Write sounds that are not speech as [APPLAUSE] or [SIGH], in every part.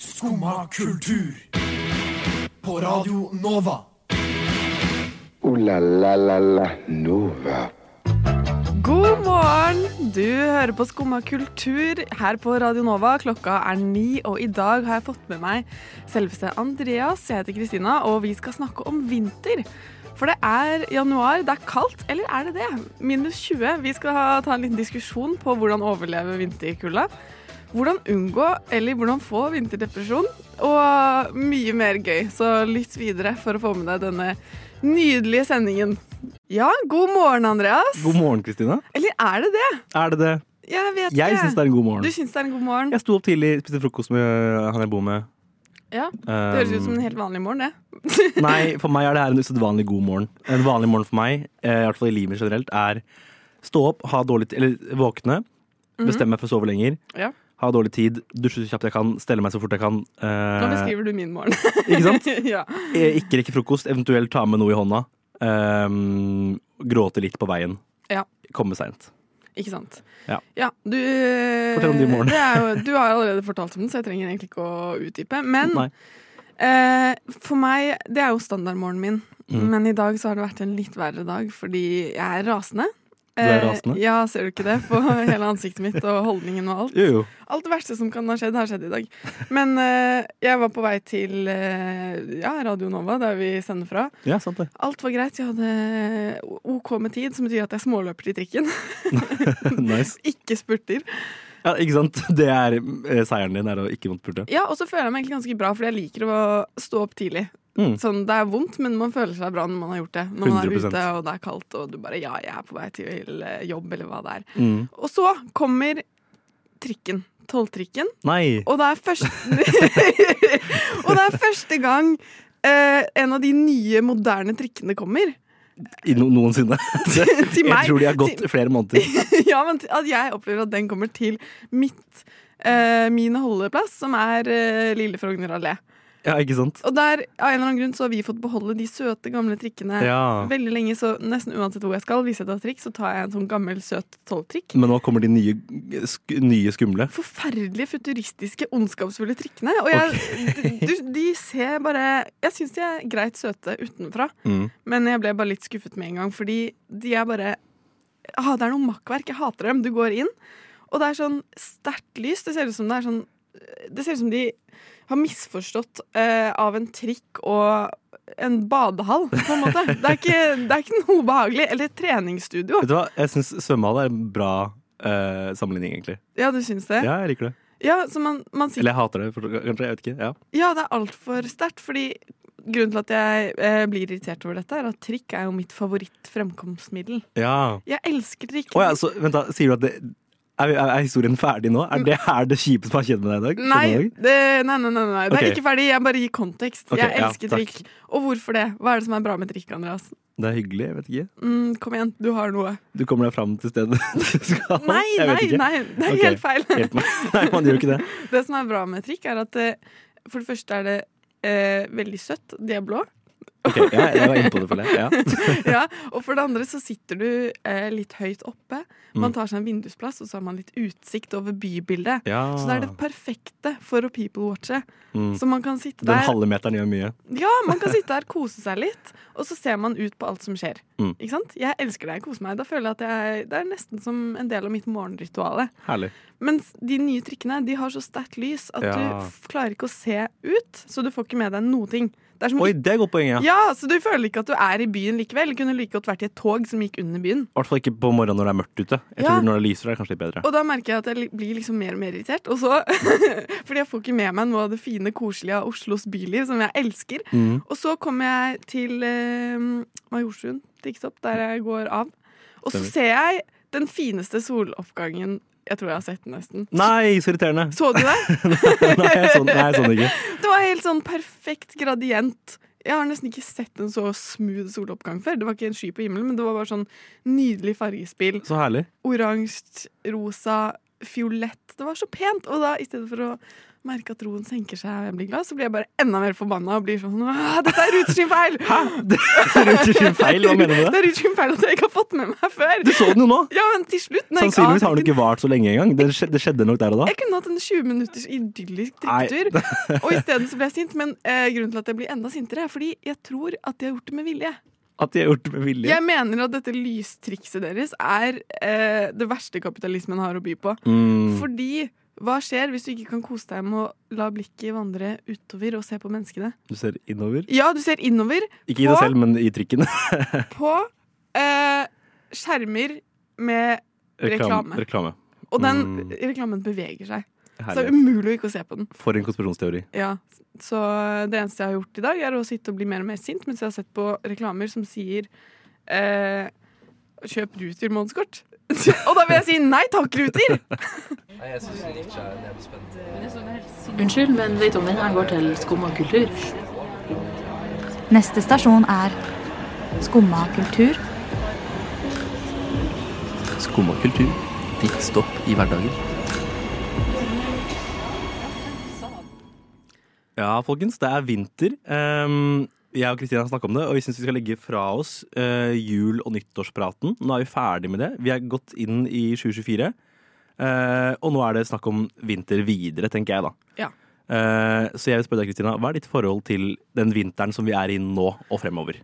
Skumma kultur. På Radio Nova. Ooh la la la la Nova. God morgen! Du hører på Skumma kultur her på Radio Nova. Klokka er ni, og i dag har jeg fått med meg selveste Andreas. Jeg heter Kristina, og vi skal snakke om vinter. For det er januar, det er kaldt, eller er det det? Minus 20. Vi skal ha, ta en liten diskusjon på hvordan overleve vinterkulda. Hvordan unngå eller hvordan få vinterdepresjon, og mye mer gøy. Så lytt videre for å få med deg denne nydelige sendingen. Ja, god morgen, Andreas. God morgen, Kristina. Eller er det det? Er det det? Jeg vet Jeg ikke. syns det er en god Du morgen. syns det er en god morgen? Jeg sto opp tidlig, spiste frokost med han jeg bor med. Ja, Det Um, høres ut som en helt vanlig morgen, det. Nei, for meg er det her en usedvanlig god morgen. En vanlig morgen for meg, eh, i hvert fall i livet mitt generelt, er stå opp, ha dårlig t- Eller våkne, bestemme meg for å sove lenger, Ja. ha dårlig tid, dusje så kjapt jeg kan, stelle meg så fort jeg kan. eh, Nå beskriver du min morgen. ikke [LAUGHS] [LAUGHS] sant? ja. Eh, Ikke rekke frokost, eventuelt ta med noe i hånda. ehm, gråte litt på veien. Ja. Komme seint. Ikke sant. Ja. du, eh, Fortell om din morgen. det er jo, du har allerede fortalt om den, så jeg trenger egentlig ikke å utdype. Men Nei. eh, for meg, det er jo standardmorgenen min. Mm. Men i dag så har det vært en litt verre dag, fordi jeg er rasende. Du er Eh, rasende? ja, ser du ikke det? På [LAUGHS] hele ansiktet mitt og holdningen og alt. Jo, jo. Alt det verste som kan ha skjedd, har skjedd i dag. Men eh, jeg var på vei til eh, ja, Radio Nova, der vi sender fra. Ja, sant det. Alt var greit. Jeg hadde eh, OK med tid, som betyr at jeg småløper i trikken. [LAUGHS] nice. [LAUGHS] ikke spurter. Ja, ikke sant? [LAUGHS] Det er eh, seieren din, er å ikke måtte pulte. Ja, Og så føler jeg meg egentlig ganske bra, fordi jeg liker å stå opp tidlig. Mm. Sånn, Det er vondt, men man føler seg bra når man har gjort det. Når man er 100%. ute, og det er kaldt, og du bare Ja, jeg er på vei til eh, jobb, eller hva det er. Mm. Og så kommer trikken. Tolvtrikken. Nei! Og det er første, [LAUGHS] og det er første gang eh, en av de nye, moderne trikkene kommer. [LAUGHS] I no noensinne. [LAUGHS] Det, Til meg. jeg tror de har gått flere [LAUGHS] måneder. ja, men at jeg opplever at den kommer til mitt, eh, min holdeplass, som er eh, Lille Frogner allé. Ja, ikke sant? Og der, av en eller annen grunn, så har vi fått beholde de søte, gamle trikkene. Ja. Veldig lenge, så Nesten uansett hvor jeg skal, hvis jeg tar trikk, så tar jeg en sånn gammel, søt tolvtrikk. Men nå kommer de nye, sk nye skumle. forferdelige, futuristiske, ondskapsfulle trikkene. Og jeg, du, de ser bare Jeg syns de er greit søte utenfra, Mm. men jeg ble bare litt skuffet med en gang, fordi de er bare ah, Det er noe makkverk. Jeg hater dem. Du går inn, og det er sånn sterkt lys. Det ser ut som det er sånn Det ser ut som de har misforstått eh, av en trikk og en badehall, på en måte. Det er ikke, det er ikke noe behagelig. Eller et treningsstudio. Vet du hva? Jeg syns svømmehall er en bra eh, sammenligning, egentlig. Ja, du syns det? Ja, jeg liker det. Ja, så man, man sitter Eller jeg hater det, for, kanskje. Jeg vet ikke. Ja. Ja, det er altfor sterkt, fordi grunnen til at jeg eh, blir irritert over dette, er at trikk er jo mitt favorittfremkomstmiddel. ja. Jeg elsker trikk. Å ja, så vent, da. Sier du at det er, er er historien ferdig nå? Er det her det kjipeste som har skjedd med deg i dag? Nei, Skjønner du? det, nei, nei, nei, nei. det er Ok. ikke ferdig. Jeg bare gir kontekst. Ok, jeg ja, elsker takk. trikk. Og hvorfor det? Hva er det som er bra med trikk, Andreas? Det er hyggelig. Jeg vet ikke. Mm, kom igjen, du har noe. Du kommer deg fram til stedet [LAUGHS] du skal. Nei, Jeg vet nei, ikke. nei, det er Ok. helt feil. Hjelp meg. [LAUGHS] Nei, man gjør jo ikke det. [LAUGHS] Det som er bra med trikk, er at eh, for det første er det eh, veldig søtt. De er [LAUGHS] blå. Ok, ja, Jeg var inne på det, føler jeg. Ja. ja, og for det andre så sitter du eh, litt høyt oppe. Man tar seg en vindusplass, og så har man litt utsikt over bybildet. Mm. Ja. Så det er det perfekte for å people-watche. Mm. Så man kan sitte Den der halve meteren gjør mye. Ja, man kan sitte der, kose seg litt, og så ser man ut på alt som skjer. Mm. Ikke sant? Jeg elsker det, jeg koser meg. Da føler jeg at jeg, Det er nesten som en del av mitt morgenrituale. Herlig. Mens de nye trikkene de har så sterkt lys at du Ja. f klarer ikke å se ut, så du får ikke med deg noe ting. Det er som Oi, det er et godt poeng, ja. ja, så du føler ikke at du er i byen likevel. Kunne like godt vært i et tog som gikk under byen. I hvert fall ikke på morgenen når det er mørkt ute. Jeg Ja. tror Når det lyser, er det kanskje litt bedre. Og da merker jeg at jeg li- blir liksom mer og mer irritert. Og så, [LAUGHS] fordi jeg får ikke med meg noe av det fine, koselige av Oslos byliv, som jeg elsker. Mm. Og så kommer jeg til eh, Majorstuen trikkstopp, der jeg går av. Og så Stemmer. ser jeg den fineste soloppgangen jeg tror jeg har sett, nesten. Nei, så irriterende! [LAUGHS] Så du det? [LAUGHS] Nei, jeg sånn, nei, sånn ikke. Det var helt sånn perfekt gradient. Jeg har nesten ikke sett en så smooth soloppgang før. Det var ikke en sky på himmelen, men det var bare sånn nydelig fargespill. Så herlig. Oransje, rosa, fiolett. Det var så pent! Og da, i stedet for å merke at roen senker seg, og jeg blir glad, så blir jeg bare enda mer forbanna og blir sånn «Åh, Dette er Ruth sin feil! [LAUGHS] Hæ? Det er ikke sin feil, hva mener du med Det det? er Ruth sin feil at jeg ikke har fått med meg før! Du så den jo nå! Ja, men til slutt når jeg Sannsynligvis har den avdekket- ikke vart så lenge engang. Det skjedde, det skjedde nok der og da. Jeg kunne hatt en 20 minutters idyllisk Nei. drikketur. [LAUGHS] Og isteden så ble jeg sint. Men eh, grunnen til at jeg blir enda sintere, er fordi jeg tror at de har gjort det med vilje. At de har gjort det med vilje. Jeg mener at dette lystrikset deres er eh, det verste kapitalismen har å by på. Mm. Fordi hva skjer hvis du ikke kan kose deg med å la blikket vandre utover og se på menneskene? Du ser innover. Ja, du ser innover Ikke i Hva? deg selv, men i trikken. [LAUGHS] på eh, skjermer med Reklame. Reklame. Og den Mm. reklamen beveger seg. Så um- det er Herlig. umulig å ikke se på den. For en konspirasjonsteori. Ja, så det eneste jeg har gjort i dag, er å sitte og bli mer og mer sint mens jeg har sett på reklamer som sier eh, Kjøp Ruter månedskort. [LAUGHS] og da vil jeg si nei takk, Ruter! Unnskyld, men Leitonen her går til skum og kultur. Neste stasjon er Skumma kultur. Skumma kultur. Ditt stopp i hverdagen. Ja, folkens, det er vinter. Ehm, jeg og Kristina har snakka om det, og vi syns vi skal legge fra oss eh, jul- og nyttårspraten. Nå er vi ferdig med det. Vi er gått inn i 2024. eh, og nå er det snakk om vinter videre, tenker jeg, da. Ja. Eh, så jeg vil spørre deg, Kristina, hva er ditt forhold til den vinteren som vi er i nå og fremover?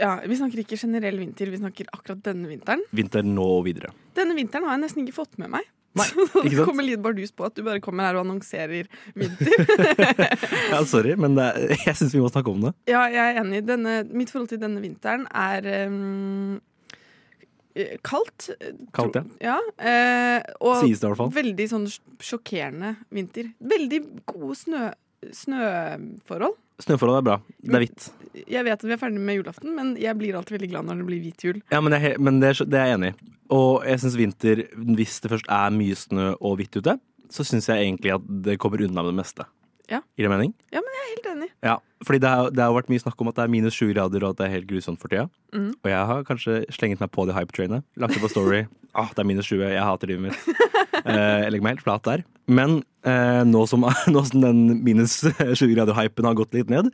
Ja, Vi snakker ikke generell vinter, vi snakker akkurat denne vinteren. Vinter nå og videre. Denne vinteren har jeg nesten ikke fått med meg. [LAUGHS] Nei, Det ikke sant? kommer litt bardus på at du bare kommer her og annonserer vinter. Ja, sorry, men det er, [LAUGHS] jeg syns vi må snakke om det. Ja, jeg er enig. Denne, mitt forhold til denne vinteren er um, kaldt. Kaldt, ja. Ja, eh, og Sies det i hvert fall. Veldig sånn sj- sjokkerende vinter. Veldig gode snø, snøforhold. Snøforholdet er bra. Det Mm. er hvitt. Jeg vet at vi er ferdig med julaften, men jeg blir alltid veldig glad når det blir hvit jul. Ja, men, jeg, he- men det, er så- det er jeg enig i. Og jeg syns vinter, hvis det først er mye snø og hvitt ute, så syns jeg egentlig at det kommer unna med det meste. Ja. Gir det mening? Jeg er helt enig. Ja. Fordi det har, det har vært mye snakk om at det er minus sju grader, og at det er helt grusomt for tida. Mm. Og jeg har kanskje slengt meg på det hype-trainet. Lagt det [LAUGHS] på Story. ah, det er minus 20, jeg hater livet mitt. Eh, jeg legger meg helt flat der. Men eh, nå, som, [LAUGHS] nå som den minus 20 grader-hypen har gått litt ned,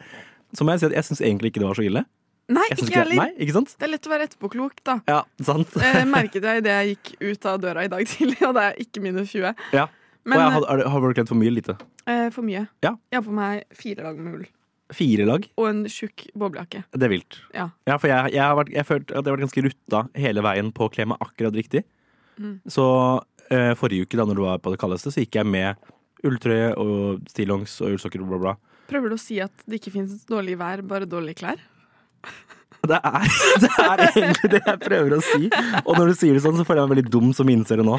så må jeg si at jeg syns egentlig ikke det var så ille. Nei, Jeg synes ikke jeg heller. Nei, ikke sant? Det er lett å være etterpåklok, da. Ja, sant. Eh, merket jeg idet jeg gikk ut av døra i dag tidlig, og det er ikke minus 20. [LAUGHS] Ja. Men og jeg har, har- har du glemt for mye eller lite? eh, for mye. Ja. Jeg har på meg fire lag med ull Fire lag? og en tjukk boblejakke. Det er vilt. Ja. for jeg, jeg har vært, jeg følt at jeg har vært ganske rutta hele veien på å kle meg akkurat riktig. Mm. Så eh, forrige uke, da når det var på det kaldeste, så gikk jeg med ulltrøye og stillongs og ullsokker og bla, bla. Prøver du å si at det ikke fins dårlig vær, bare dårlige klær? Det er, [LAUGHS] det er egentlig det jeg prøver å si. Og når du sier det sånn, så føler jeg meg veldig dum som innser det nå.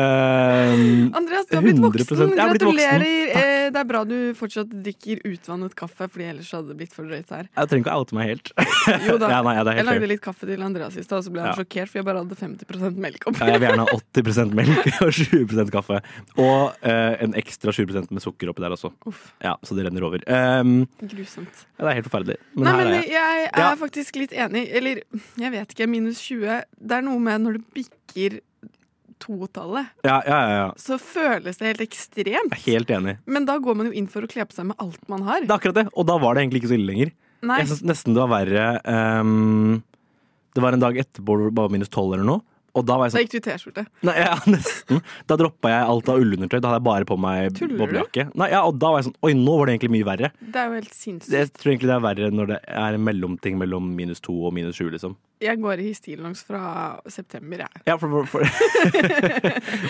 Eh, Andreas, du har blitt 100%. voksen. Jeg har blitt voksen. Gratulerer. Eh, det er bra du fortsatt drikker utvannet kaffe, fordi ellers hadde det blitt for drøyt her. jeg trenger ikke å oute [LAUGHS] meg helt. Jo da. [LAUGHS] Ja, nei, ja, det er jeg helt lagde fair. litt kaffe til Andreas i stad, og så ble han Ja. sjokkert, for jeg bare hadde 50 melk oppi. Ja, jeg vil gjerne ha 80 melk og 20 kaffe. Og eh, en ekstra 20 med sukker oppi der også. [LAUGHS] Uff, Ja, Så det renner over. Ehm, grusomt. ja, det er helt forferdelig. Men Nei, her men er jeg, jeg. er Ja. faktisk litt enig. Eller jeg vet ikke, minus 20 Det er noe med når du bikker totallet, Ja, ja, ja, ja. så føles det helt ekstremt. Jeg er Helt enig. Men da går man jo inn for å kle på seg med alt man har. Det er akkurat det. Og da var det egentlig ikke så ille lenger. Nei, Jeg synes nesten det var verre ehm, Det var en dag etterpå hvor det var minus 12 eller noe. Og da var jeg da sånn gikk du i T-skjorte. [LAUGHS] Nei, ja, nesten. Da droppa jeg alt av ullundertøy. Da hadde jeg bare på meg Tuller du? boblejakke. Nei, ja, og da var jeg sånn Oi, nå var det egentlig mye verre. Det er jo helt sinnssykt. Jeg tror egentlig det er verre når det er en mellomting mellom minus 2 og minus 7, liksom. Jeg går i stillongs fra september, jeg. Ja, for, for, for. [LAUGHS]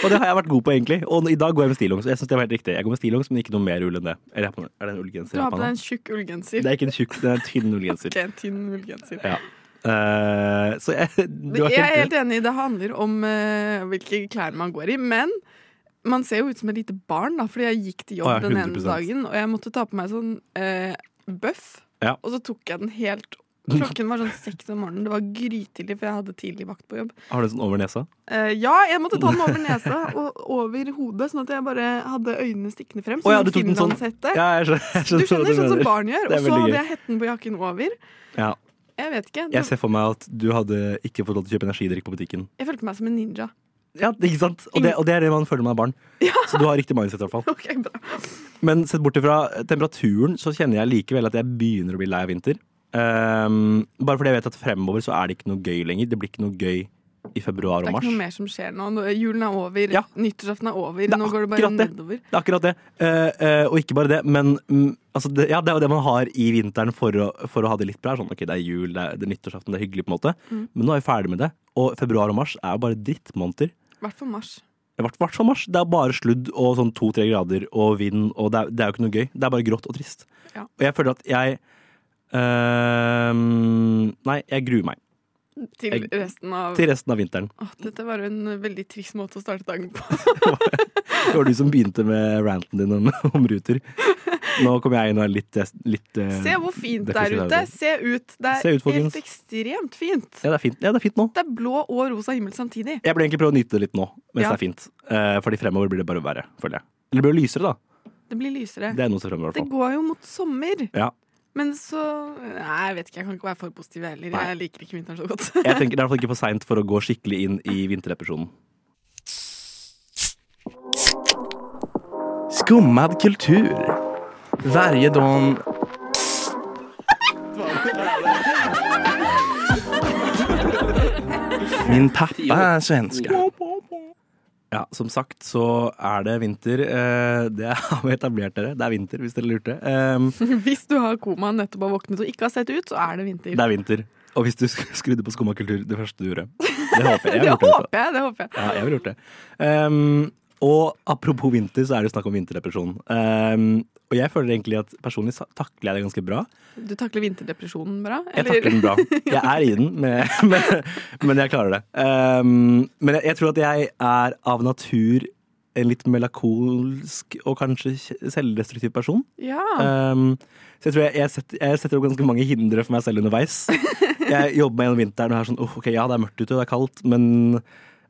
og det har jeg vært god på, egentlig. Og i dag går jeg med stillongs. Jeg synes det var helt riktig. Jeg går med stillongs, men ikke noe mer ull enn det. Eller jeg har på- er det en ullgenser? Du jeg har på på deg nå? en tjukk Det ullgenser. er ikke en tjukk, det er en tynn ullgenser. Ok, en tynn ullgenser. Ja. Eh, så jeg, [LAUGHS] du har Jeg er helt helt enig, det handler om eh, hvilke klær man går i, men man ser jo ut som et lite barn, da, fordi jeg gikk til jobb Å, ja, den ene 100%. dagen, og jeg måtte ta på meg sånn eh, bøff, Ja. og så tok jeg den helt Klokken var sånn seks om morgenen, det var grytidlig, for jeg hadde tidlig vakt på jobb. Har du en sånn over nesa? Eh, ja, jeg måtte ta den over nesa [LAUGHS] og over hodet, sånn at jeg bare hadde øynene stikkende frem. Å, Som ja, en du tok den sånn. finlandshette. Ja, jeg skjønner, jeg Du skjønner hva skjønner, sånn som mener. barn gjør. Det er Og så veldig hadde gøy. jeg hetten på jakken over. Ja. Jeg vet ikke. Jeg Det, ser for meg at du hadde ikke fått lov til å kjøpe energidrikk på butikken. jeg følte meg som en ninja. ja, ikke sant? Og det, og det er det man føler når man er barn. Så du har riktig mindset, i hvert fall. [LAUGHS] Ok, bra. Men sett bort fra temperaturen, så kjenner jeg likevel at jeg begynner å bli lei av vinter. Ehm, bare fordi jeg vet at fremover så er det ikke noe gøy lenger. Det blir ikke noe gøy i februar Det og er mars. ikke noe mer som skjer nå. Nå- Julen er over, Ja. nyttårsaften er over, Det er nå går det bare akkurat det. nedover. Det er akkurat det. Eh, eh, og ikke bare det, men mm, altså det, ja, det er jo det man har i vinteren for å, for å ha det litt bra. Sånn, ok, det er jul, det er, det er nyttårsaften, det er hyggelig på en måte. Mm. Men nå er vi ferdig med det. Og februar og mars er jo bare drittmåneder. I hvert fall mars. I hvert hvert fall mars. Det er bare sludd og sånn to-tre grader og vind, og det er, det er jo ikke noe gøy. Det er bare grått og trist. Ja. Og jeg føler at jeg øhm, Nei, jeg gruer meg Til Jeg- resten av til resten av vinteren. Åh, Dette var jo en veldig trist måte å starte dagen på. Det var du som begynte med ranten din om, [LAUGHS] om ruter. Nå kommer jeg inn og er litt, litt øh, Se hvor fint det er depressiv ute! Se dag. ut! Det Se er ut, folkens. helt ekstremt fint. Ja, det er fint. Ja, det er fint nå. Det er blå og rosa himmel samtidig. Jeg burde egentlig prøve å nyte det litt nå, mens Ja. det er fint. Eh, fordi fremover blir det bare verre, føler jeg. Eller det blir jo lysere, da. Det blir lysere. Det er noe som fremover, i Det hvert fall. går jo mot sommer. Ja. Men så Nei, jeg vet ikke. Jeg kan ikke være for positiv heller. Nei. Jeg liker ikke vinteren så godt. [LAUGHS] Jeg tenker Det er i hvert fall ikke for seint for å gå skikkelig inn i vinterdepresjonen. Skummad kultur. Varje dag Min pappa er svenska. Ja, som sagt så er det vinter. Eh, Det [LAUGHS] har vi etablert, dere. Det er vinter, hvis dere lurte. Eh, Hvis du har koma nettopp har våknet og ikke har sett ut, så er det vinter. Det er vinter. Og hvis du sk- skrudde på Skumma kultur det første du gjorde Det håper jeg. jeg. det [LAUGHS] ville gjort det. håper jeg. det håper jeg Ja, jeg ville gjort det. Eh, og apropos vinter, så er det jo snakk om vinterdepresjon. Eh, og jeg føler egentlig at personlig sa- takler jeg det ganske bra. Du takler vinterdepresjonen bra? Jeg takler den bra. Jeg [LAUGHS] er i den, men, men, men jeg klarer det. Um, men jeg, jeg tror at jeg er av natur en litt melakolsk og kanskje kj- selvdestruktiv person. [LAUGHS] Ja. Um, så jeg tror jeg, jeg, setter, jeg setter opp ganske mange hindre for meg selv [LAUGHS] underveis. Jeg jobber meg gjennom vinteren og er sånn «Åh, ok, ja, det er mørkt ute og det er kaldt, men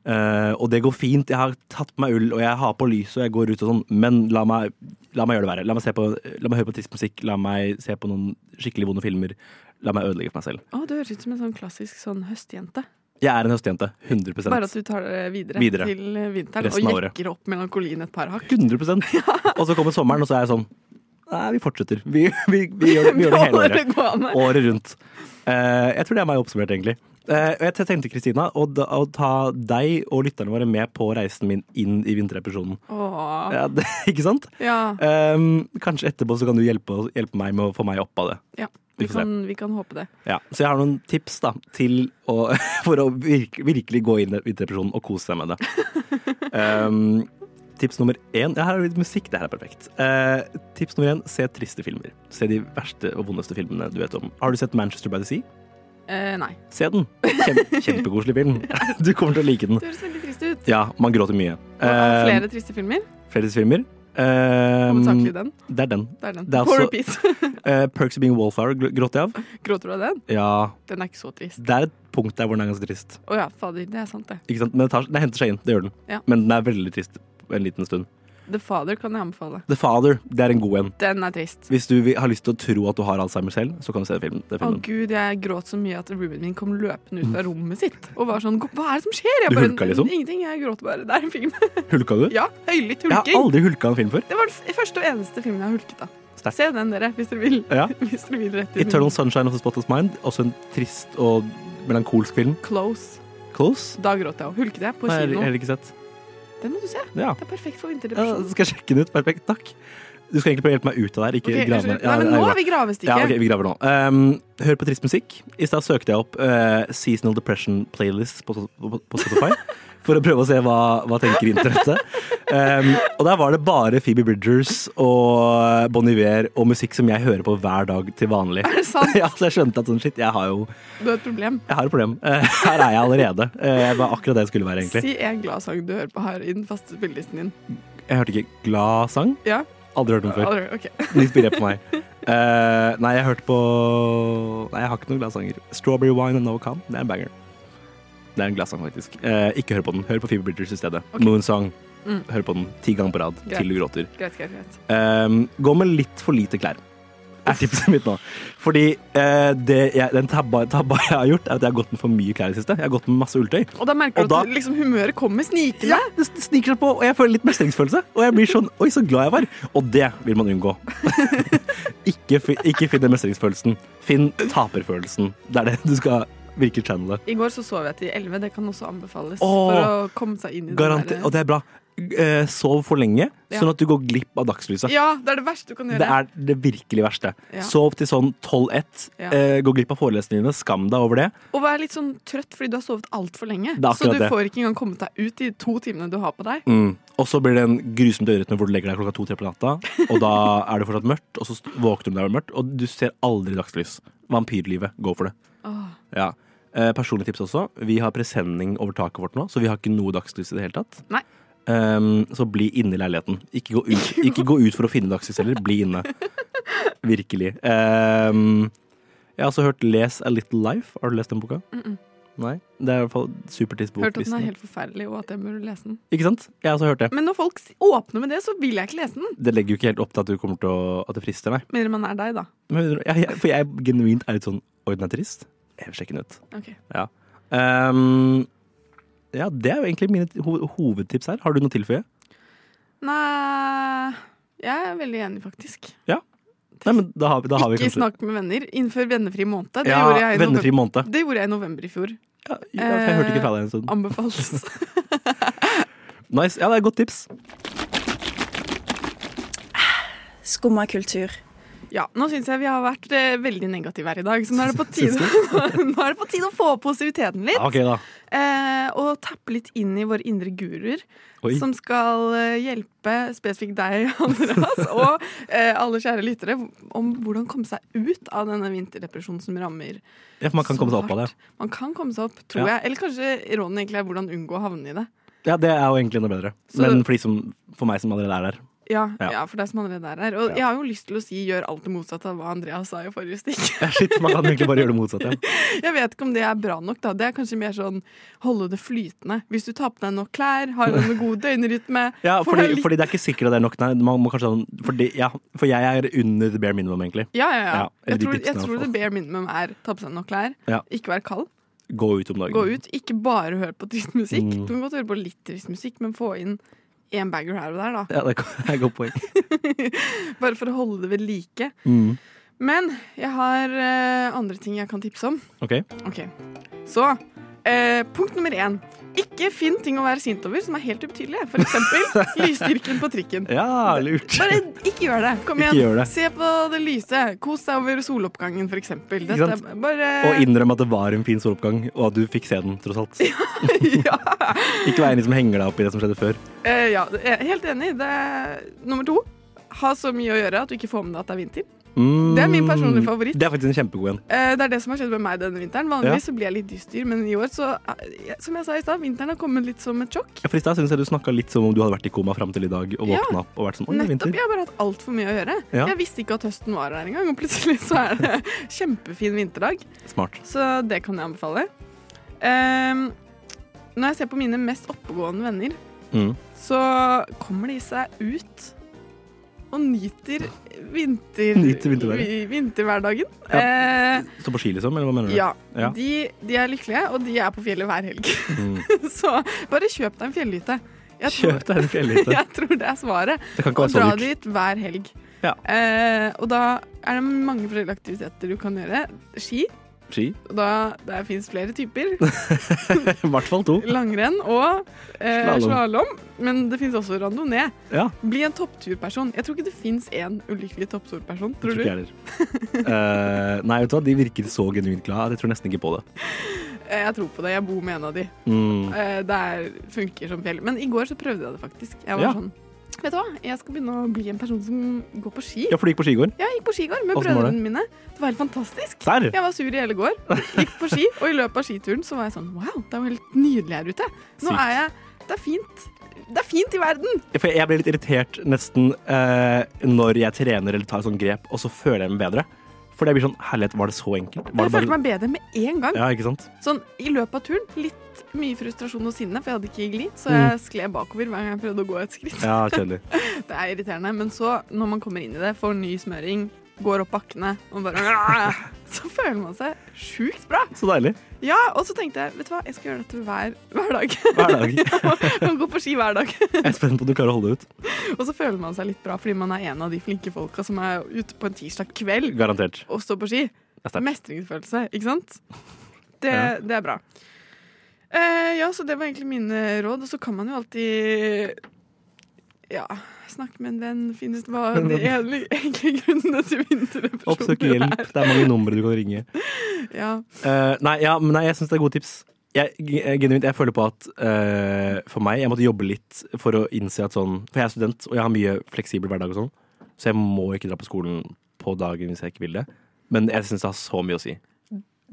eh, Og det går fint. Jeg har tatt på meg ull, og jeg har på lys, og jeg går ut og sånn, men la meg, la meg gjøre det verre. La meg, se på, la meg høre på trist musikk, la meg se på noen skikkelig vonde filmer. La meg ødelegge for meg selv. Å, du høres ut som en sånn klassisk sånn høstjente. Jeg er en høstjente. 100 Bare at du tar det videre, Videre. til eh, vinteren Resten av og året. jekker opp melankolien et par hakk. 100 [LAUGHS] Og så kommer sommeren, og så er jeg sånn Nei, vi fortsetter. Vi, vi, vi, gjør, vi gjør [LAUGHS] det hele Beholder året. det gående. Året rundt. Eh, jeg tror det er meg oppsummert, egentlig. Eh, og jeg tenkte, Kristina, å, da- å ta deg og lytterne våre med på reisen min inn i vinterdepresjonen. Åh. Ja, det, [LAUGHS] ikke sant? Ja. Ehm, kanskje etterpå så kan du hjelpe, oss- hjelpe meg med å få meg opp av det. ja. vi Vi får se. kan, vi kan håpe det. Ja. Så jeg har noen tips da, til å, [LAUGHS] for å virke, virkelig gå inn i vinterdepresjonen og kose seg med det. Ehm, tips nummer én ja, Her er det litt musikk. Det her er perfekt. Eh, tips nummer én se triste filmer. Se de verste og vondeste filmene du vet om. Har du sett Manchester by the Sea? Eh, nei. Se den. Kjem, [LAUGHS] kjempekoselig film. Du kommer til å like den. Det høres veldig trist ut. Ja, man gråter mye. Og, eh, Eh, flere triste filmer. flere filmer. Eh, Hovedsakelig den. det er den. Det er den. det er På altså- også- repeat. Eh, Perks of being a wallflower gr- gråter jeg av. [LAUGHS] Gråter du av den? Ja, Den er ikke så trist. det er et punkt der hvor den er ganske trist. Å ja, fader. Det er sant, det. Ikke sant? Men det, tar, det henter seg inn, det gjør den. Ja. Men den er veldig trist en liten stund. The Father kan jeg anbefale. The Father, det er en god en. Den er trist. Hvis du vil- har lyst til å tro at du har Alzheimer selv, så kan du se den filmen. Den Å filmen. gud, jeg gråt så mye at roomien min kom løpende ut fra rommet sitt og var sånn Hva er det som skjer? Jeg Mm. Du hulka, liksom? Ingenting. Jeg gråt bare. Det er en film. [LAUGHS] Hulka du? ja, høylytt Jeg har hulking. aldri hulka en film før. Det var den f- første og eneste filmen jeg har hulket av. Sterkt. Se den, dere, hvis dere vil. [LAUGHS] Ja. Hvis dere vil rett i Eternal Sunshine of the Spotless Mind, også en trist og melankolsk film. Close. Close? Da gråt jeg og hulket jeg på Nei, jeg har kino. heller ikke sett. Den må du se. Ja. Det er perfekt for Ja, vinterdepresjon. skal jeg sjekke den ut? Perfekt, takk. Du skal egentlig prøve å hjelpe meg ut av det her, ikke Ok, grave unnskyld. meg. Ja, Nei, men det nå er bra. er vi gravestikket. Ja, ok, vi graver nå. Um, hør på trist musikk. I stad søkte jeg opp eh, Seasonal Depression Playlist på, på, på Spotify. [LAUGHS] For å prøve å se hva, hva tenker internettet. Um, og der var det bare Phoebe Bridgers og Bon Iver og musikk som jeg hører på hver dag til vanlig. [LAUGHS] Er [LAUGHS] det sant? Ja, så jeg skjønte at sånn shit, jeg har jo Du har et problem. jeg har et problem. Eh, her er jeg allerede. Eh, jeg var akkurat det jeg skulle være, egentlig. Si en glad sang du hører på her i den faste spillelisten din. Jeg hørte ikke glad sang. Ja? Aldri hørt den før. Aldri- Ok. Den inspirerer på meg. Eh, nei, jeg hørte på Nei, jeg har ikke noen gladsanger. 'Strawberry Wine and No Can'. Det er en banger. Det er en gladsang, faktisk. Eh, ikke hør på den. Hør på Phoebe Bridgers i stedet. Ok. Moonsong. Mm. Hør på den ti ganger på rad Greit. til du gråter. Ehm, Greit, greit, greit. Eh, gå med litt for lite klær. er tipset mitt nå. Fordi eh, det jeg, den tabba, tabba jeg har gjort, er at jeg har gått med for mye klær i det siste. Jeg har gått med masse ulltøy. Og da merker Og du da- at liksom, humøret kommer snikende. Ja, det det sniker seg på, og jeg føler litt mestringsfølelse. Og jeg blir sånn Oi, så glad jeg var. Og det vil man unngå. [LAUGHS] ikke, fi- ikke finn den mestringsfølelsen. Finn taperfølelsen. Det er det du skal virke channele. I går så sov jeg til 11, det kan også anbefales. Åh. for å komme seg inn i Garanter, det og det er bra. Eh, Sov for lenge, Ja. sånn at du går glipp av dagslyset. Ja, det er det verste du kan gjøre. Det er det virkelig verste. Ja. Sov til sånn 12-1. Ja. Eh, gå glipp av forelesningene. Skam deg over det. Og vær litt sånn trøtt fordi du har sovet altfor lenge. Det er Så akkurat du det. får ikke engang kommet deg ut de to timene du har på deg. Mm. Og så blir det en grusom døgnrytme hvor du legger deg klokka to-tre på natta, og da er det fortsatt mørkt, og så st- våkner du deg mørkt, og du ser aldri dagslys. Vampyrlivet, gå for det. Åh. Ja. Eh, personlig tips også. Vi har presenning over taket vårt nå, så vi har ikke noe dagslys i det hele tatt. Nei. Ehm, så bli inne i leiligheten. Ikke gå ut, [LAUGHS] ikke gå ut for å finne dagslys heller. Bli inne. Virkelig. Ehm, jeg har også hørt Les A Little Life. Har du lest den boka? Mm-mm. Nei. Det er i hvert fall supertidsbok. Hørt at den er helt forferdelig, og at jeg burde lese den. Ikke sant? Jeg har også hørt det. Men når folk s- åpner med det, så vil jeg ikke lese den. Det legger jo ikke helt opp til at, du kommer til å, at det frister, nei. Mindre man er deg, da. Men, jeg, jeg, for jeg genuint er litt sånn Oi, den er trist. Jeg vil sjekke den ut. Ok. Ehm, ja, det er jo egentlig mine ho hovedtips her. Har du noe å tilføye? Nei Jeg er veldig enig, faktisk. Nei, men da har vi, da har vi Ikke kanskje snakk med venner. Innfør vennefri måned. Det, ja, gjorde, jeg i Vennefri november. måned. det gjorde jeg i november i fjor. Ja, ja, for jeg hørte ikke fra deg en stund. [LAUGHS] Anbefales. Nice. Ja, det er et godt tips. Skumma kultur. Ja, nå syns jeg vi har vært eh, veldig negative her i dag, så nå er [LAUGHS] det på Syns tide, [LAUGHS] nå er det på tide å få opp positiviteten litt. Ja, Ah, ok, da. Eh, og tappe litt inn i våre indre guruer, Oi. som skal eh, hjelpe spesifikt deg, [LAUGHS] Andreas, og eh, alle kjære lyttere, om hvordan komme seg ut av denne vinterdepresjonen som rammer. Ja, for man kan så komme seg opp av det. hardt. Man kan komme seg opp, tror jeg. Eller kanskje råden egentlig er hvordan unngå å havne i det. Ja, det er jo egentlig enda bedre. Så- Men for, de som, for meg som allerede er der. [LAUGHS] Ja, Ja. ja. for deg som allerede er her. Og jeg har jo lyst til å si gjør alt det motsatte av hva Andreas sa i forrige stikk. Ja, shit, man kan egentlig bare gjøre det motsatte. Ja. Jeg vet ikke om det er bra nok. da Det er kanskje mer sånn holde det flytende. Hvis du tar på deg nok klær, har en [LAUGHS] god døgnrytme Ja, får deg fordi, litt- fordi det er ikke sikkert at det er nok. Nei, man må kanskje, ha en- fordi, ja, for jeg er under the bare minimum, egentlig. Ja, ja, ja. Ja, eller jeg, de tror, tipsene jeg i tror hvert det bare minimum er ta på seg nok klær, Ja. ikke være kald, Gå ut om dagen. gå ut. Ikke bare høre på trist musikk. Mm. Du kan godt høre på litt trist musikk, men få inn én bagger her og der, da. Ja, det er et godt poeng. Bare for å holde det ved like. Mm. Men jeg har eh, andre ting jeg kan tipse om. Ok. Ok, Så eh, punkt nummer én. Ikke finn ting å være sint over som er helt ubetydelige. For [LAUGHS] eksempel lysstyrken på trikken. Ja, lurt. [LAUGHS] Bare ikke gjør det. Kom Ikke igjen. gjør det. Se på det lyse. Kos deg over soloppgangen, for eksempel. Ikke Dette sant? er bare Og innrømme at det var en fin soloppgang, og at du fikk se den, tross alt. [LAUGHS] ja. Ikke være en som henger deg opp i det som skjedde før. Eh, ja, jeg er helt enig. Det er nummer to. Ha så mye å gjøre at du ikke får med deg at det er vinter. Mm. Det er min personlige favoritt. Det er faktisk en kjempegod en. Eh, det er det som har skjedd med meg denne vinteren. Ja. Vanligvis så blir jeg litt dyster, men i år så eh, Som jeg sa i stad, vinteren har kommet litt som et sjokk. Ja, for I stad syns jeg du snakka litt som om du hadde vært i koma fram til i dag og våkna opp og vært sånn Oi, det er Nettopp. vinter. Jeg har bare hatt altfor mye å gjøre. Ja. Jeg visste ikke at høsten var her engang, og plutselig så er det [LAUGHS] kjempefin vinterdag. Smart. Så det kan jeg anbefale. Ehm, når jeg ser på mine mest oppegående venner, Mm. så kommer de seg ut og nyter, vinter, Nyter vinterværet. vi- vinterhverdagen. Ja. Eh, Stå på ski, liksom? Eller hva mener du? ja. Ja. De, de er lykkelige, og de er på fjellet hver helg. Mm. [LAUGHS] Så bare kjøp deg en fjellhytte. Jeg tror, Kjøp deg en fjellhytte. [LAUGHS] jeg tror det er svaret. Det kan ikke Og være så dra dyrt. dit hver helg. Ja. Eh, og da er det mange forskjellige aktiviteter du kan gjøre. Ski. Ski. [LAUGHS] Og da, der fins flere typer. I hvert fall to. Langrenn og eh, Slalom. slalåm. Men det fins også randonee. Ja. Bli en toppturperson. Jeg tror ikke det fins én ulykkelig toppturperson. Jeg Tror du? tror ikke jeg heller. Eh, nei, vet du hva, de virker så genuint glad at jeg tror nesten ikke på det. Eh, Jeg tror på det. Jeg bor med en av de. Mm. Eh, Det er, funker som fjell. Men i går så prøvde jeg det faktisk. Jeg var Ja. sånn Vet du hva, jeg skal begynne å bli en person som går på ski. Ja, for du gikk på skigården? Jeg gikk på ski i går med Hvordan var det? brødrene mine. Det var helt fantastisk. Der! Jeg var sur i hele går. Gikk på ski, og i løpet av skituren så var jeg sånn Wow, det er jo helt nydelig her ute. Nå Sykt. er jeg Det er fint. Det er fint i verden. For jeg ble litt irritert nesten eh, når jeg trener eller tar sånn grep, og så føler jeg meg bedre. For jeg blir sånn Herlighet, var det så enkelt? Var Jeg det følte meg bedre med en gang. Ja, ikke sant? Sånn, I løpet av turen litt mye frustrasjon og sinne, for jeg hadde ikke glid, så jeg skled bakover hver gang jeg prøvde å gå et skritt. Ja, kjedelig. Det er irriterende, men så, når man kommer inn i det, får ny smøring, går opp bakkene og bare [LAUGHS] Så føler man seg sjukt bra. Så deilig. Ja, og så tenkte jeg vet du hva, jeg skal gjøre dette hver, hver dag. [LAUGHS] Hver dag. Jeg må gå på ski hver dag. Jeg er spent på om du klarer å holde det ut. Og så føler man seg litt bra fordi man er en av de flinke folka som er ute på en tirsdag kveld Garantert. og står på ski. Det er sterkt. Mestringsfølelse, ikke sant? Det, Ja. det er bra. Eh, ja, så det var egentlig mine råd. Og så kan man jo alltid ja, snakke med en venn, finne ut [LAUGHS] hva de egentlig- egentlige grunnene til Oppsøk vinterdepresjoner hjelp. Det er mange numre du kan ringe. Ja. Eh, nei, ja, men nei, jeg syns det er gode tips. Jeg, jeg, genuint, jeg føler på at eh, for meg Jeg måtte jobbe litt for å innse at sånn For jeg er student, og jeg har mye fleksibel hverdag og sånn, så jeg må ikke dra på skolen på dagen hvis jeg ikke vil det. Men jeg syns det har så mye å si.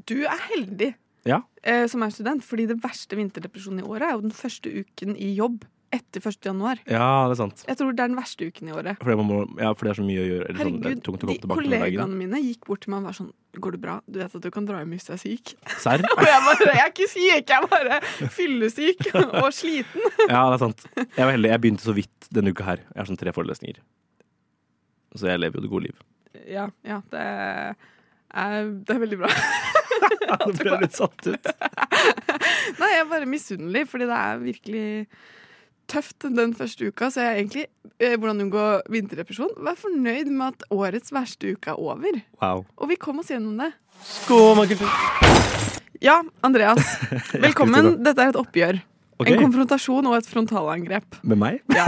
Du er heldig Ja. eh, som er student, fordi det verste vinterdepresjonen i året er jo den første uken i jobb etter 1. januar. Ja, det er sant. Jeg tror det er den verste uken i året. Fordi, man må, ja, for det er så mye å gjøre. Eller sånn, det er Herregud, tungt å de komme tilbake til den dagen. kollegaene mine gikk bort til meg og var sånn Går det bra? Du vet at du kan dra hjem hvis du er syk? Serr? Og jeg bare Jeg er ikke syk, jeg er bare fyllesyk og sliten. Ja, det er sant. Jeg var heldig. Jeg begynte så vidt denne uka her. Jeg har sånn tre forelesninger. Så jeg lever jo det gode liv. Ja, ja det, er, det er veldig bra. [LAUGHS] Nå ble jeg litt satt ut. Nei, jeg er bare misunnelig, fordi det er virkelig tøft den første uka. Så jeg er egentlig eh, Hvordan unngå vinterdepresjon? Vær fornøyd med at årets verste uke er over. Wow. Og vi kom oss gjennom det. Skomakertur. Ja, Andreas. Velkommen. Dette er et oppgjør. Ok, En konfrontasjon og et frontalangrep. med meg? Ja,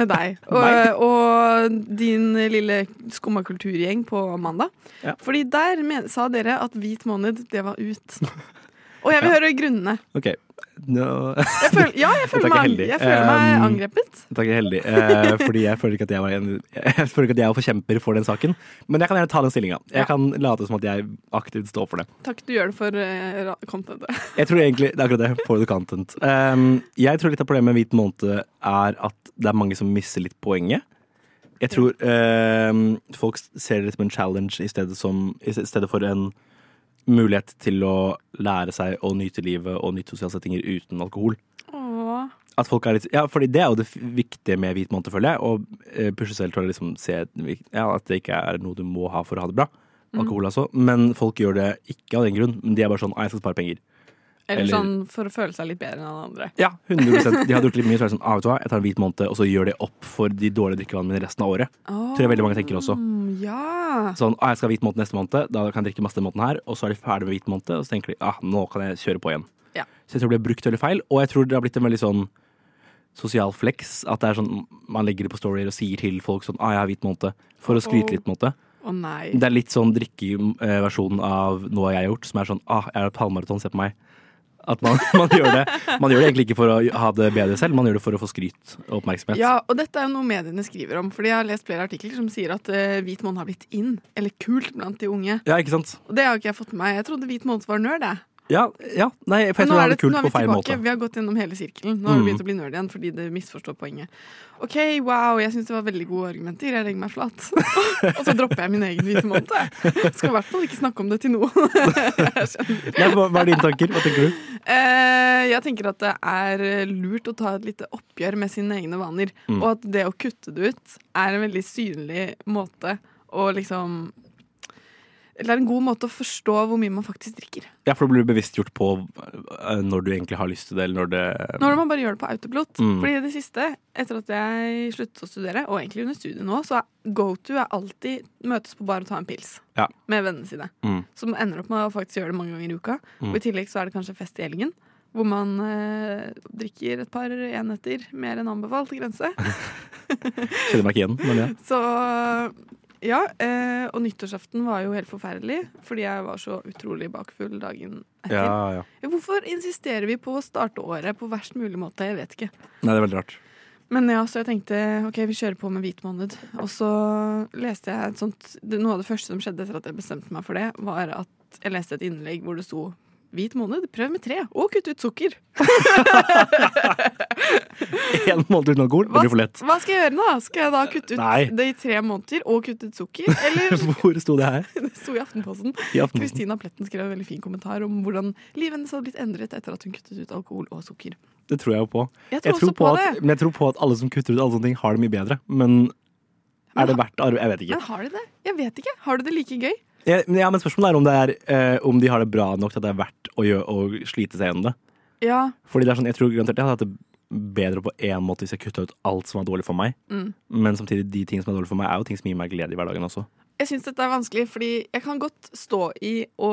med [LAUGHS] deg. Meg? Og, og din lille skumma kulturgjeng på mandag. Ja. Fordi der men, sa dere at hvit måned, det var ut. [LAUGHS] Og jeg vil høre grunnene. Ok. Nå- [LAUGHS] Jeg føl, ja, jeg Dette er føler ikke meg, heldig. jeg føler meg Um, angrepet. Takk, jeg er heldig. Eh, fordi jeg føler ikke at jeg, var en, jeg føler ikke at jeg er forkjemper for den saken. Men jeg kan gjerne ta den stillinga. Ja. Jeg kan late som at jeg aktivt står for det. Takk du gjør det for eh, ra- contentet. Jeg tror egentlig, Det er akkurat det. For the content. Um, jeg tror litt av problemet med Hvit måned er at det er mange som misser litt poenget. Jeg tror um, folk ser det som en challenge i stedet, som, i stedet for en mulighet til å lære seg å nyte livet og nyte sosiale settinger uten alkohol. Åh. At folk er litt, ja, fordi Det er jo det f- viktige med hvit måned, føler jeg. Å eh, pushe selv til å liksom se den vik- ja, at det ikke er noe du må ha for å ha det bra. Alkohol altså. Men folk gjør det ikke av den grunn. Men de er bare sånn «Ah, 'Jeg skal spare penger'. Eller, eller- sånn for å føle seg litt bedre enn alle andre. Ja, 100 De har drukket litt mye, så er det sånn ah, vet du hva, jeg tar en hvit måned, og så gjør det opp for de dårlige drikkevannene mine resten av året. Tror jeg veldig mange tenker også. Mm, Ja. Sånn, ah, jeg skal ha hvit måned neste måned, da kan jeg drikke masse den måneden her, og så er de ferdig med hvit måned, og så tenker de ah, nå kan jeg kjøre på igjen. Ja. Så jeg tror det ble brukt veldig feil, og jeg tror det har blitt en veldig sånn sosial flex, at det er sånn, man legger det på storyer og sier til folk sånn, ah, jeg har hvit måned, for å skryte litt på en måte. Å nei. Det er litt sånn drikkeversjonen av noe jeg har gjort, som er sånn ah, jeg er på halvmaraton, se på meg. At man, [LAUGHS] man, gjør det. man gjør det egentlig ikke for å ha det bedre selv, man gjør det for å få skryt og oppmerksomhet. Ja, og dette er jo noe mediene skriver om. Fordi jeg har lest flere artikler som sier at eh, hvit måned har blitt in, eller kult blant de unge. Ja, ikke sant? Og det har ikke jeg fått med meg. Jeg trodde hvit måned var nerd, jeg. Ja, ja. Nei, for Men nå er jeg tror det er det- litt kult nå er på vi feil måte. tilbake. Vi har gått gjennom hele sirkelen. Nå har vi begynt å bli nerd igjen fordi det misforstår poenget. OK, wow, jeg syns det var veldig gode argumenter. Jeg legger meg flat. [LAUGHS] og så dropper jeg min egen hvite måned. jeg. Skal i hvert fall ikke snakke om det til noen. [LAUGHS] jeg skjønner. Nei, hva, hva er dine tanker? Hva tenker du? Eh, jeg tenker at det er lurt å ta et lite oppgjør med sine egne vaner. Mm. Og at det å kutte det ut er en veldig synlig måte å liksom Eller en god måte å forstå hvor mye man faktisk drikker. Ja, for du blir bevisstgjort på eh, når du egentlig har lyst til det, eller når det Når man bare gjør det på autopilot. Mm. Fordi i det siste, etter at jeg sluttet å studere, og egentlig under studiet nå, så er go to er alltid møtes på bar og ta en pils Ja. med vennene sine. Mm. Som ender opp med å faktisk gjøre det mange ganger i uka. Og i tillegg så er det kanskje fest i helgen. Hvor man eh, drikker et par enheter mer enn anbefalt grense. [LAUGHS] Kjenner meg ikke igjen. Men ja. Så ja. Eh, og nyttårsaften var jo helt forferdelig, fordi jeg var så utrolig bakfull dagen Ja, etter. ja. Hvorfor insisterer vi på å starte året på verst mulig måte? Jeg vet ikke. Nei, det er veldig rart. [LAUGHS] Men ja, så jeg tenkte ok, vi kjører på med hvit måned. Og så leste jeg et sånt det- Noe av det første som skjedde etter at jeg bestemte meg for det, var at jeg leste et innlegg hvor det sto Hvit måned, prøv med tre, og kutt ut sukker. Én måned uten alkohol, det blir for lett. [LAUGHS] hva skal jeg gjøre nå? Skal jeg da kutte ut Nei. det i tre måneder og kutte ut sukker? [LAUGHS] Eller Hvor sto det her? det sto i Aftenposten. I aften. Kristina Pletten skrev en veldig fin kommentar om hvordan livet hennes hadde blitt endret etter at hun kuttet ut alkohol og sukker. Det tror jeg jo på. Jeg tror, Jeg tror også på på, at, det. men jeg tror på at alle som kutter ut alle sånne ting, har det mye bedre. Men Er det verdt arbeid? Jeg vet ikke. Men har de det? Jeg vet ikke. Har du det like gøy? Jeg, men- ja, men spørsmålet er om, det er eh, om de har det bra nok til at det er verdt å, gjø- å slite seg gjennom det. Ja. Fordi det er sånn, Jeg tror garantert jeg hadde hatt det bedre på én måte hvis jeg kutta ut alt som var dårlig for meg. Mm. Men samtidig, de ting som er dårlig for meg, er jo ting som gir meg glede i hverdagen også. Jeg syns dette er vanskelig, fordi jeg kan godt stå i å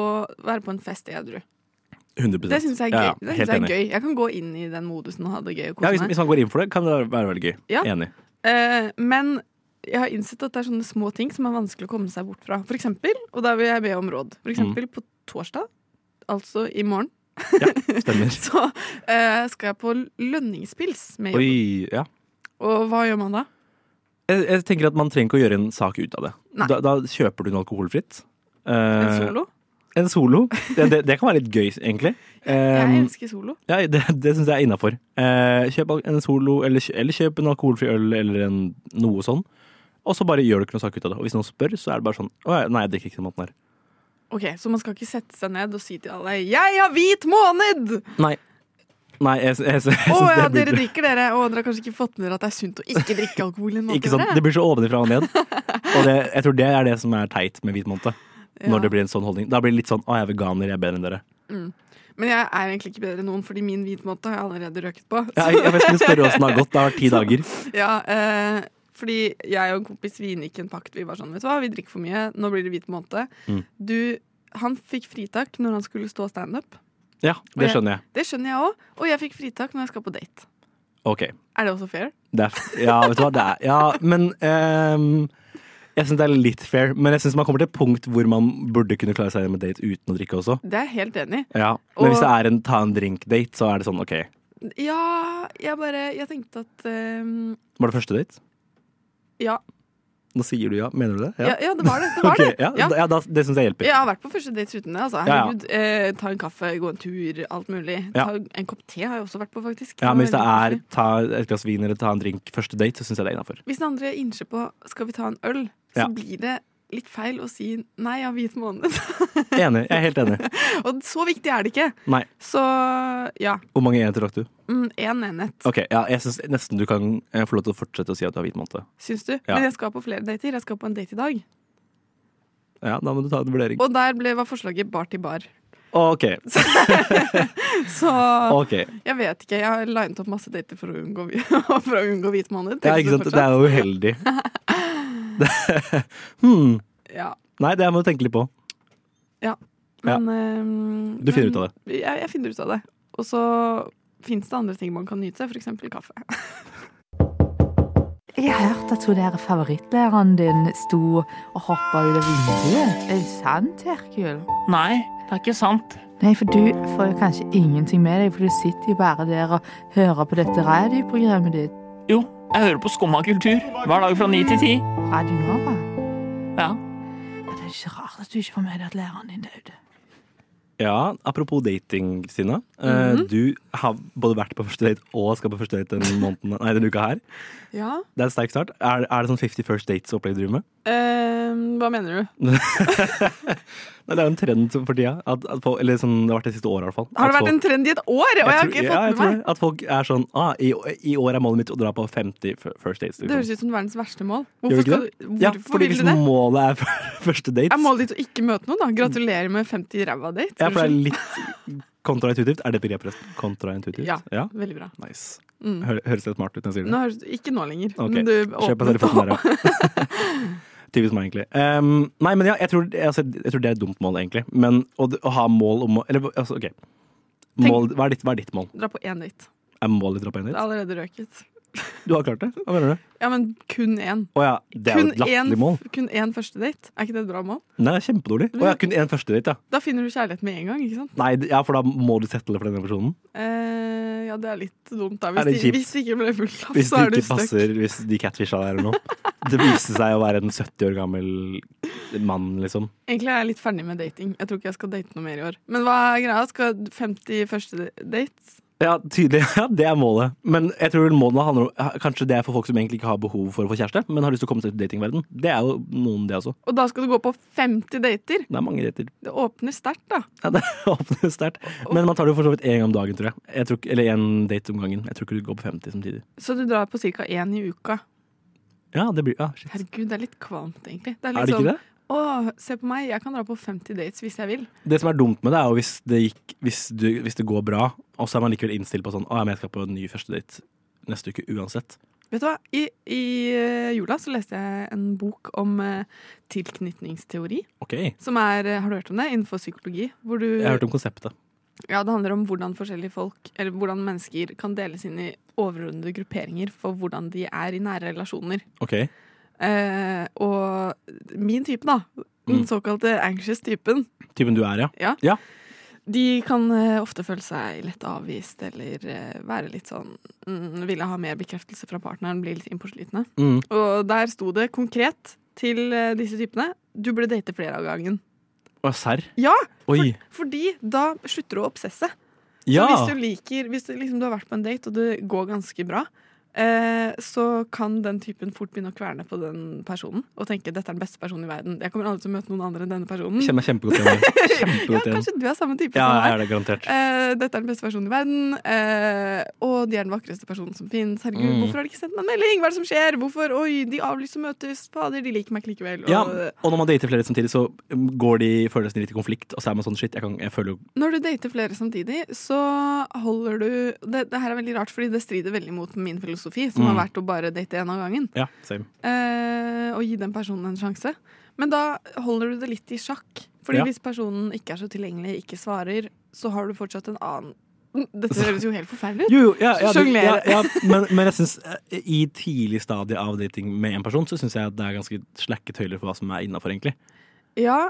være på en fest edru. 100 Det syns jeg, er Ja, gøy. ja, Det synes helt jeg enig. er gøy. Jeg kan gå inn i den modusen og ha det gøy og Ja, kose hvis, meg. hvis man går inn for det, kan det være veldig gøy. Ja. Enig. Eh, men jeg har innsett at det er sånne små ting som er vanskelig å komme seg bort fra. For eksempel, og da vil jeg be om råd. Mm. For eksempel på torsdag, altså i morgen, [LAUGHS] Stemmer. så eh, skal jeg på lønningspils med Oi, jobben. ja. Og hva gjør man da? Jeg, jeg tenker at man trenger ikke å gjøre en sak ut av det. Nei. Da, da kjøper du noe alkoholfritt. En Eh, solo? En solo. Det, det, det kan være litt gøy, egentlig. [LAUGHS] jeg Eh, elsker solo. ja, det det syns jeg er innafor. Eh, kjøp al- en solo, eller, kjø- eller kjøp en alkoholfri øl, eller en, noe sånn. Og så bare gjør du ikke noe sak ut av det. Og hvis noen spør, så er det bare sånn Å, ja, nei, jeg drikker ikke den måten her. Ok, Så man skal ikke sette seg ned og si til alle 'Jeg har hvit måned!' Nei. Nei, jeg, jeg, jeg, syns- jeg Å syns ja, det dere blir drikker, dere. Og dere har kanskje ikke fått med dere at det er sunt å ikke drikke alkohol i en måned. Ikke sant? dere. Det blir så ovenifra og ned. Og det, jeg tror det er det som er teit med Hvit måned. [LAUGHS] Ja. Når det blir en sånn holdning. Da blir det litt sånn Å, jeg er veganer, jeg er bedre [LAUGHS] enn dere. Men jeg er egentlig ikke bedre enn noen, fordi min hvitmåte har jeg allerede røket på. Ja, Jeg, jeg skulle spørre åssen det har gått. Det har vært ti dager. [LAUGHS] Ja, eh, fordi jeg og en kompis vi inngikk en pakt. Vi var sånn, vet du hva, vi drikker for mye, nå blir det hvit måned. Mm. Du, han fikk fritak når han skulle stå standup. Ja, det skjønner jeg. Det skjønner jeg òg. Og jeg fikk fritak når jeg skal på date. OK. Er det også fair? Det er, ja, vet du hva, det er Ja, men ehm, Jeg syns det er litt fair, men jeg syns man kommer til et punkt hvor man burde kunne klare seg med date uten å drikke også. Det er jeg helt enig i. Ja, Men hvis Og- det er en ta en drink-date, så er det sånn OK. Ja, jeg bare Jeg tenkte at eh, Var det første date? ja, Nå sier du ja. Mener du det? ja. Ja, det var det. Det var [LAUGHS] Ok, det. ja, da- ja, da, det syns jeg hjelper. Jeg har vært på første dates uten det. Altså. ja. Herregud, eh, Ta en kaffe, gå en tur, alt mulig. Ta Ja. en kopp te har jeg også vært på, faktisk. Ja, Men hvis det var er veldig koselig. ta et glass vin eller ta en drink første date, så syns jeg det er innafor. Hvis den andre innser på 'skal vi ta en øl', så Ja. blir det litt feil å si 'nei, jeg har hvit måned'. [LAUGHS] Enig. Jeg er helt enig. Og så viktig er det ikke. Nei. Så ja. Hvor mange enheter rakk du? Én en enhet, Ok, ja, Jeg syns nesten du kan eh, få lov til å fortsette å si at du har hvit måned. syns du. Ja. Men jeg skal på flere dater. Jeg skal på en date i dag. Ja, da må du ta en vurdering. Og der ble, var forslaget bar til bar. OK. Så ok jeg vet ikke. Jeg har linet opp masse dater for å unngå, [LAUGHS] for å unngå hvit måned. Ja, ikke sant? Det er jo uheldig. [LAUGHS] Det- [LAUGHS] hmm. Ja. Nei, det må du tenke litt på. Ja. Men, ehm, Du finner ut av det? Jeg, jeg finner ut av det. Og så fins det andre ting man kan nyte, f.eks. kaffe. Jeg har hørt at hun der favorittlæreren din sto og hoppa ut av vinduet. Er det sant, Herkul? Nei, det er ikke sant. Nei, for du får jo kanskje ingenting med deg, for du sitter jo bare der og hører på dette radioprogrammet ditt. Jo, jeg hører på Skumma kultur hver dag fra ni til ti. Radio Nova. Ja. Ja, Det er ikke rart at du ikke får med deg at læreren din døde. Ja, Apropos dating, Stina. Eh, Mhm. Du har både vært på første date og skal på første date [LAUGHS] denne, måneden, nei, denne uka her. Ja. Det er en sterk start. Er, er det sånn 50 First Dates-opplegg du driver med? Ehm, hva mener du? Nei, det er jo en trend for tida. At, at folk, eller sånn, det har vært det siste året, i hvert fall. Har det At vært folk- en trend i et år, og jeg har tror- ikke ja, jeg fått tror med det. meg? At folk er sånn ah, i, I år er målet mitt å dra på 50 fir- First Dates. Det høres ut som verdens verste mål. Gjør Hvorfor, det ikke skal, det? du- Ja, hvorfor fordi vil du liksom hvis det? målet er [LAUGHS] første dates Er målet ditt å ikke møte noen, da? Gratulerer med 50 ræva dates. Mm. Ja, for det er Unnskyld. litt kontraintuitivt. Er det begrepet forresten? Kontraintuitivt? Ja. ja. Veldig bra. Nice. Mm. Hø høres litt smart ut når jeg sier Nå det. høres, ikke nå lenger. Ok, Men du Kjøp deg selv i foten åpnet [LAUGHS] der, ja. Typisk meg, egentlig. Ehm, nei, men ja, jeg tror, altså, jeg tror det er et dumt mål, egentlig. Men å, å ha mål om å Eller altså, OK. Mål, hva, er ditt, hva er ditt mål? [LAUGHS] Dra på én date. Er målet ditt opp igjen Det er dit? allerede røket. Du har klart det? Hva mener du? Ja, men kun én. Å ja, det er jo Kun et latterlig mål. én- kun én første date. Er ikke det et bra mål? Nei, det er kjempedårlig. Å ja, kun én første date, ja. Da finner du kjærlighet med en gang, ikke sant? Nei, ja, for da må du settle for denne personen. Eh, ja, det er litt dumt, da. Er Hvis, det de, kjipt? hvis de ikke ble full av, Hvis så er det du ikke stuck. passer, hvis de catfisha deg eller noe. Det viste seg å være en 70 år gammel mann, liksom. Egentlig er jeg litt ferdig med dating. Jeg tror ikke jeg skal date noe mer i år. Men hva er greia? Skal 50 første dates? Ja, tydelig. [LAUGHS] Ja, det er målet. Men jeg tror målet handler om Kanskje det er for folk som egentlig ikke har behov for å få kjæreste, men har lyst til å komme seg ut i datingverden. Det er jo noen, det også. Og da skal du gå på 50 dater? Det er mange dater. [LAUGHS] Det åpner sterkt, da. Ja, det åpner sterkt. Men man tar det jo for så vidt én gang om dagen, tror jeg. jeg tror, ikke- eller én date om gangen. Jeg tror ikke du går på 50 samtidig. Så du drar på ca. én i uka. Ja, det blir, ja, shit. Herregud, det er litt kvalmt, egentlig. Det er, Er litt det ikke det? Å, se på meg, jeg kan dra på 50 dates hvis jeg vil. Det som er dumt med det, er jo hvis det, gikk, hvis du, hvis det går bra, og så er man likevel innstilt på sånn Å, ja, men jeg skal på en ny første date neste uke uansett. Vet du hva, i, i eh, jula så leste jeg en bok om eh, tilknytningsteori, OK. Jeg som er, eh, har du hørt om det, innenfor psykologi? Hvor du, har hørt om konseptet. Ja, det handler om hvordan forskjellige folk, eller hvordan mennesker kan deles inn i overordnede grupperinger for hvordan de er i nære relasjoner. OK. Eh, og min type, da, den Mm. såkalte anxious typen, Typen du er, ja. de kan eh, ofte føle seg lett avvist eller eh, være litt sånn mm, Ville ha mer bekreftelse fra partneren, bli litt innpåslitne. Mm. Og der sto det konkret til eh, disse typene du burde date flere av gangen. Og serr. Ja! Oi. Fordi da slutter du å obsesse. Så Ja! hvis du liker Hvis du, liksom, du har vært på en date, og det går ganske bra, eh, så kan den typen fort begynne å kverne på den personen og tenke dette er den beste personen i verden. Jeg kommer aldri til å møte noen andre enn denne personen. Kjenner meg [LAUGHS] kjempegodt igjen. ja, Kjempegodt igjen. kanskje du er samme type Ja, som meg. jeg er det garantert. Eh, dette er den beste personen i verden, eh, og de er den vakreste personen som finnes. Herregud, Mm. hvorfor har de ikke sendt meg en melding? Hva er det som skjer? Hvorfor? Oi, de avlyser møtes. Fader, de liker meg ikke likevel. Og Ja, og når man dater flere samtidig, så mm, går de følelsene litt i konflikt, og så er man sånn shit, jeg, kan, jeg føler jo Når du dater flere samtidig, så holder du det, det her er veldig rart, fordi det strider veldig mot min filosofi, som Mm. har vært å bare date én av gangen. Ja, same. Eh, og gi den personen en sjanse. Men da holder du det litt i sjakk. Fordi Ja. hvis personen ikke er så tilgjengelig, ikke svarer, så har du fortsatt en annen [LAUGHS] Dette høres jo helt forferdelig ut. Mm. Jo, jo, ja, ja, det- Sjonglere. ja, ja men, men jeg syns i tidlig stadie av dating med en person, så syns jeg at det er ganske slakke tøyler for hva som er innafor, egentlig. Ja,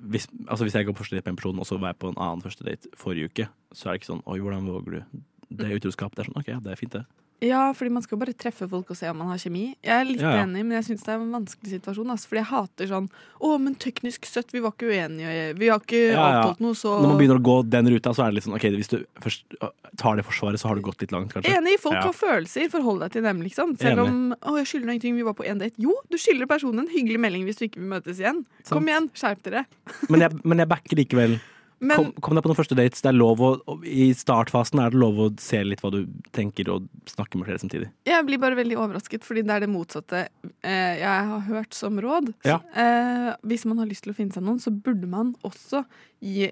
hvis, altså hvis jeg går på første date med en person, og så var jeg på en annen første date forrige uke, så er det ikke sånn Oi, hvordan våger du? Det er utroskap. Det er sånn, OK, ja, det er fint, det. Ja, fordi man skal jo bare treffe folk og se om man har kjemi. Jeg er litt Ja, ja. enig, men jeg syns det er en vanskelig situasjon. Altså, fordi jeg hater sånn Å, men teknisk sett, vi var ikke uenige. Vi har ikke Ja, ja. avtalt noe, så Når man begynner å gå den ruta, så er det litt sånn OK, hvis du først øh, tar det forsvaret, så har du gått litt langt, kanskje. Enig, folk Ja. har følelser. Forhold deg til dem, liksom. Selv om å, jeg skylder deg ingenting, vi var på én date. Jo, du skylder personen en hyggelig melding hvis du ikke vil møtes igjen. Sant. Kom igjen, skjerp dere. Men jeg, men jeg backer likevel. Men kom, kom deg på noen første dates. Det er lov å, og I startfasen er det lov å se litt hva du tenker, og snakke med flere samtidig. jeg blir bare veldig overrasket, fordi det er det motsatte eh, jeg har hørt som råd. Ja. Eh, hvis man har lyst til å finne seg noen, så burde man også gi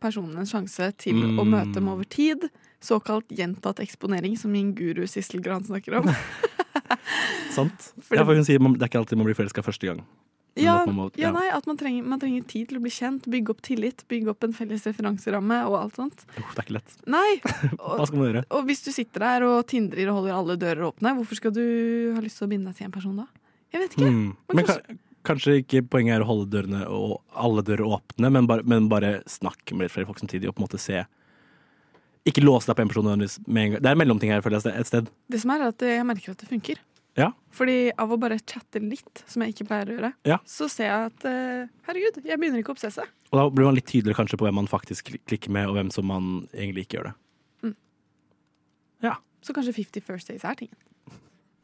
personen en sjanse til å Mm. møte dem over tid. Såkalt gjentatt eksponering, som min guru Sissel Gran snakker [LAUGHS] om. Sant? For ja, det- for hun sier man, det er ikke alltid man blir forelska første gang. Men ja, at man må- ja, ja. nei, at man trenger, man trenger tid til å bli kjent, bygge opp tillit, bygge opp en felles referanseramme og alt sånt. Uff, det er ikke lett. Nei! [LAUGHS] Hva Og, skal man gjøre? og hvis du sitter der og tindrer og holder alle dører åpne, hvorfor skal du ha lyst til å binde deg til en person da? Jeg vet ikke. Mm. Men Men kanskje, kanskje ikke poenget er å holde dørene og alle dører åpne, men bare, men bare snakke med litt flere folk samtidig og på en måte se Ikke låse deg på en person nødvendigvis med en gang. Det er en mellomting her, føler jeg, et sted. Det som er, er at jeg merker at det funker. Ja. Fordi av å bare chatte litt, som jeg ikke pleier å gjøre, Ja. så ser jeg at eh, herregud, jeg begynner ikke å obsesse. Og da blir man litt tydeligere kanskje på hvem man faktisk klik- klikker med, og hvem som man egentlig ikke gjør det. Mm. Så kanskje 50 First Days er tingen.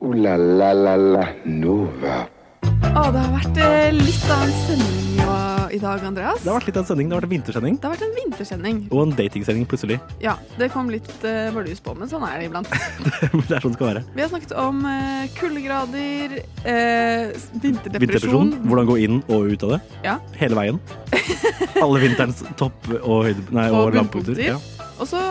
Ooh la la la la Nova. Å, det har vært eh, litt av en sending jo- i dag, Andreas. Det har vært litt av en sending. Det har vært en vintersending. Det har vært en vintersending. Og en datingsending, plutselig. [LAUGHS] Ja, Det kom litt uh, møljus på, men sånn er det iblant. Men det er sånn det skal være. Vi har snakket om eh, kuldegrader, eh, s- vinterdepresjon. Vinterdepresjon. Hvordan gå inn og ut av det. Ja. Hele veien. Alle vinterens topp- og høyde... Nei, Og og, lavpunkter. bunnpunkter. Ja. Og så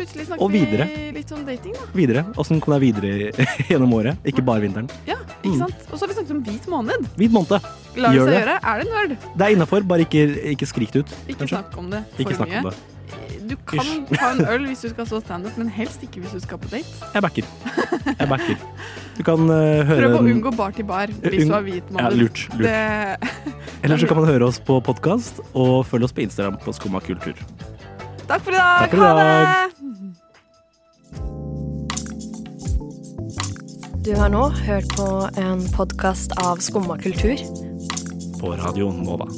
plutselig snakket Og videre. vi litt om dating, da. Videre. Åssen kom deg videre [LAUGHS] gjennom året? Ikke bare vinteren. Ja, ikke Mm. sant? Og så har vi snakket om hvit måned. Hvit måned. Lar det Gjør seg det. gjøre? Er det nerd? Det er innafor, bare ikke, ikke skrik det ut. Ikke Kanskje. snakk om det for Ikke snakk mye. om det. Du kan ta en øl hvis du skal stå standup, men helst ikke hvis du skal på date. Jeg backer. Jeg backer. Du kan eh, høre Prøv å den- unngå bar til bar hvis Unng- du har hvit Ja, måned. lurt. lurt. Det, Eller så kan man høre oss på podkast, og følge oss på Instagram på Skumma kultur. takk for i dag! Takk for i dag. Ha det! Du har nå hørt på en podkast av Skumma kultur. På radioen Nova.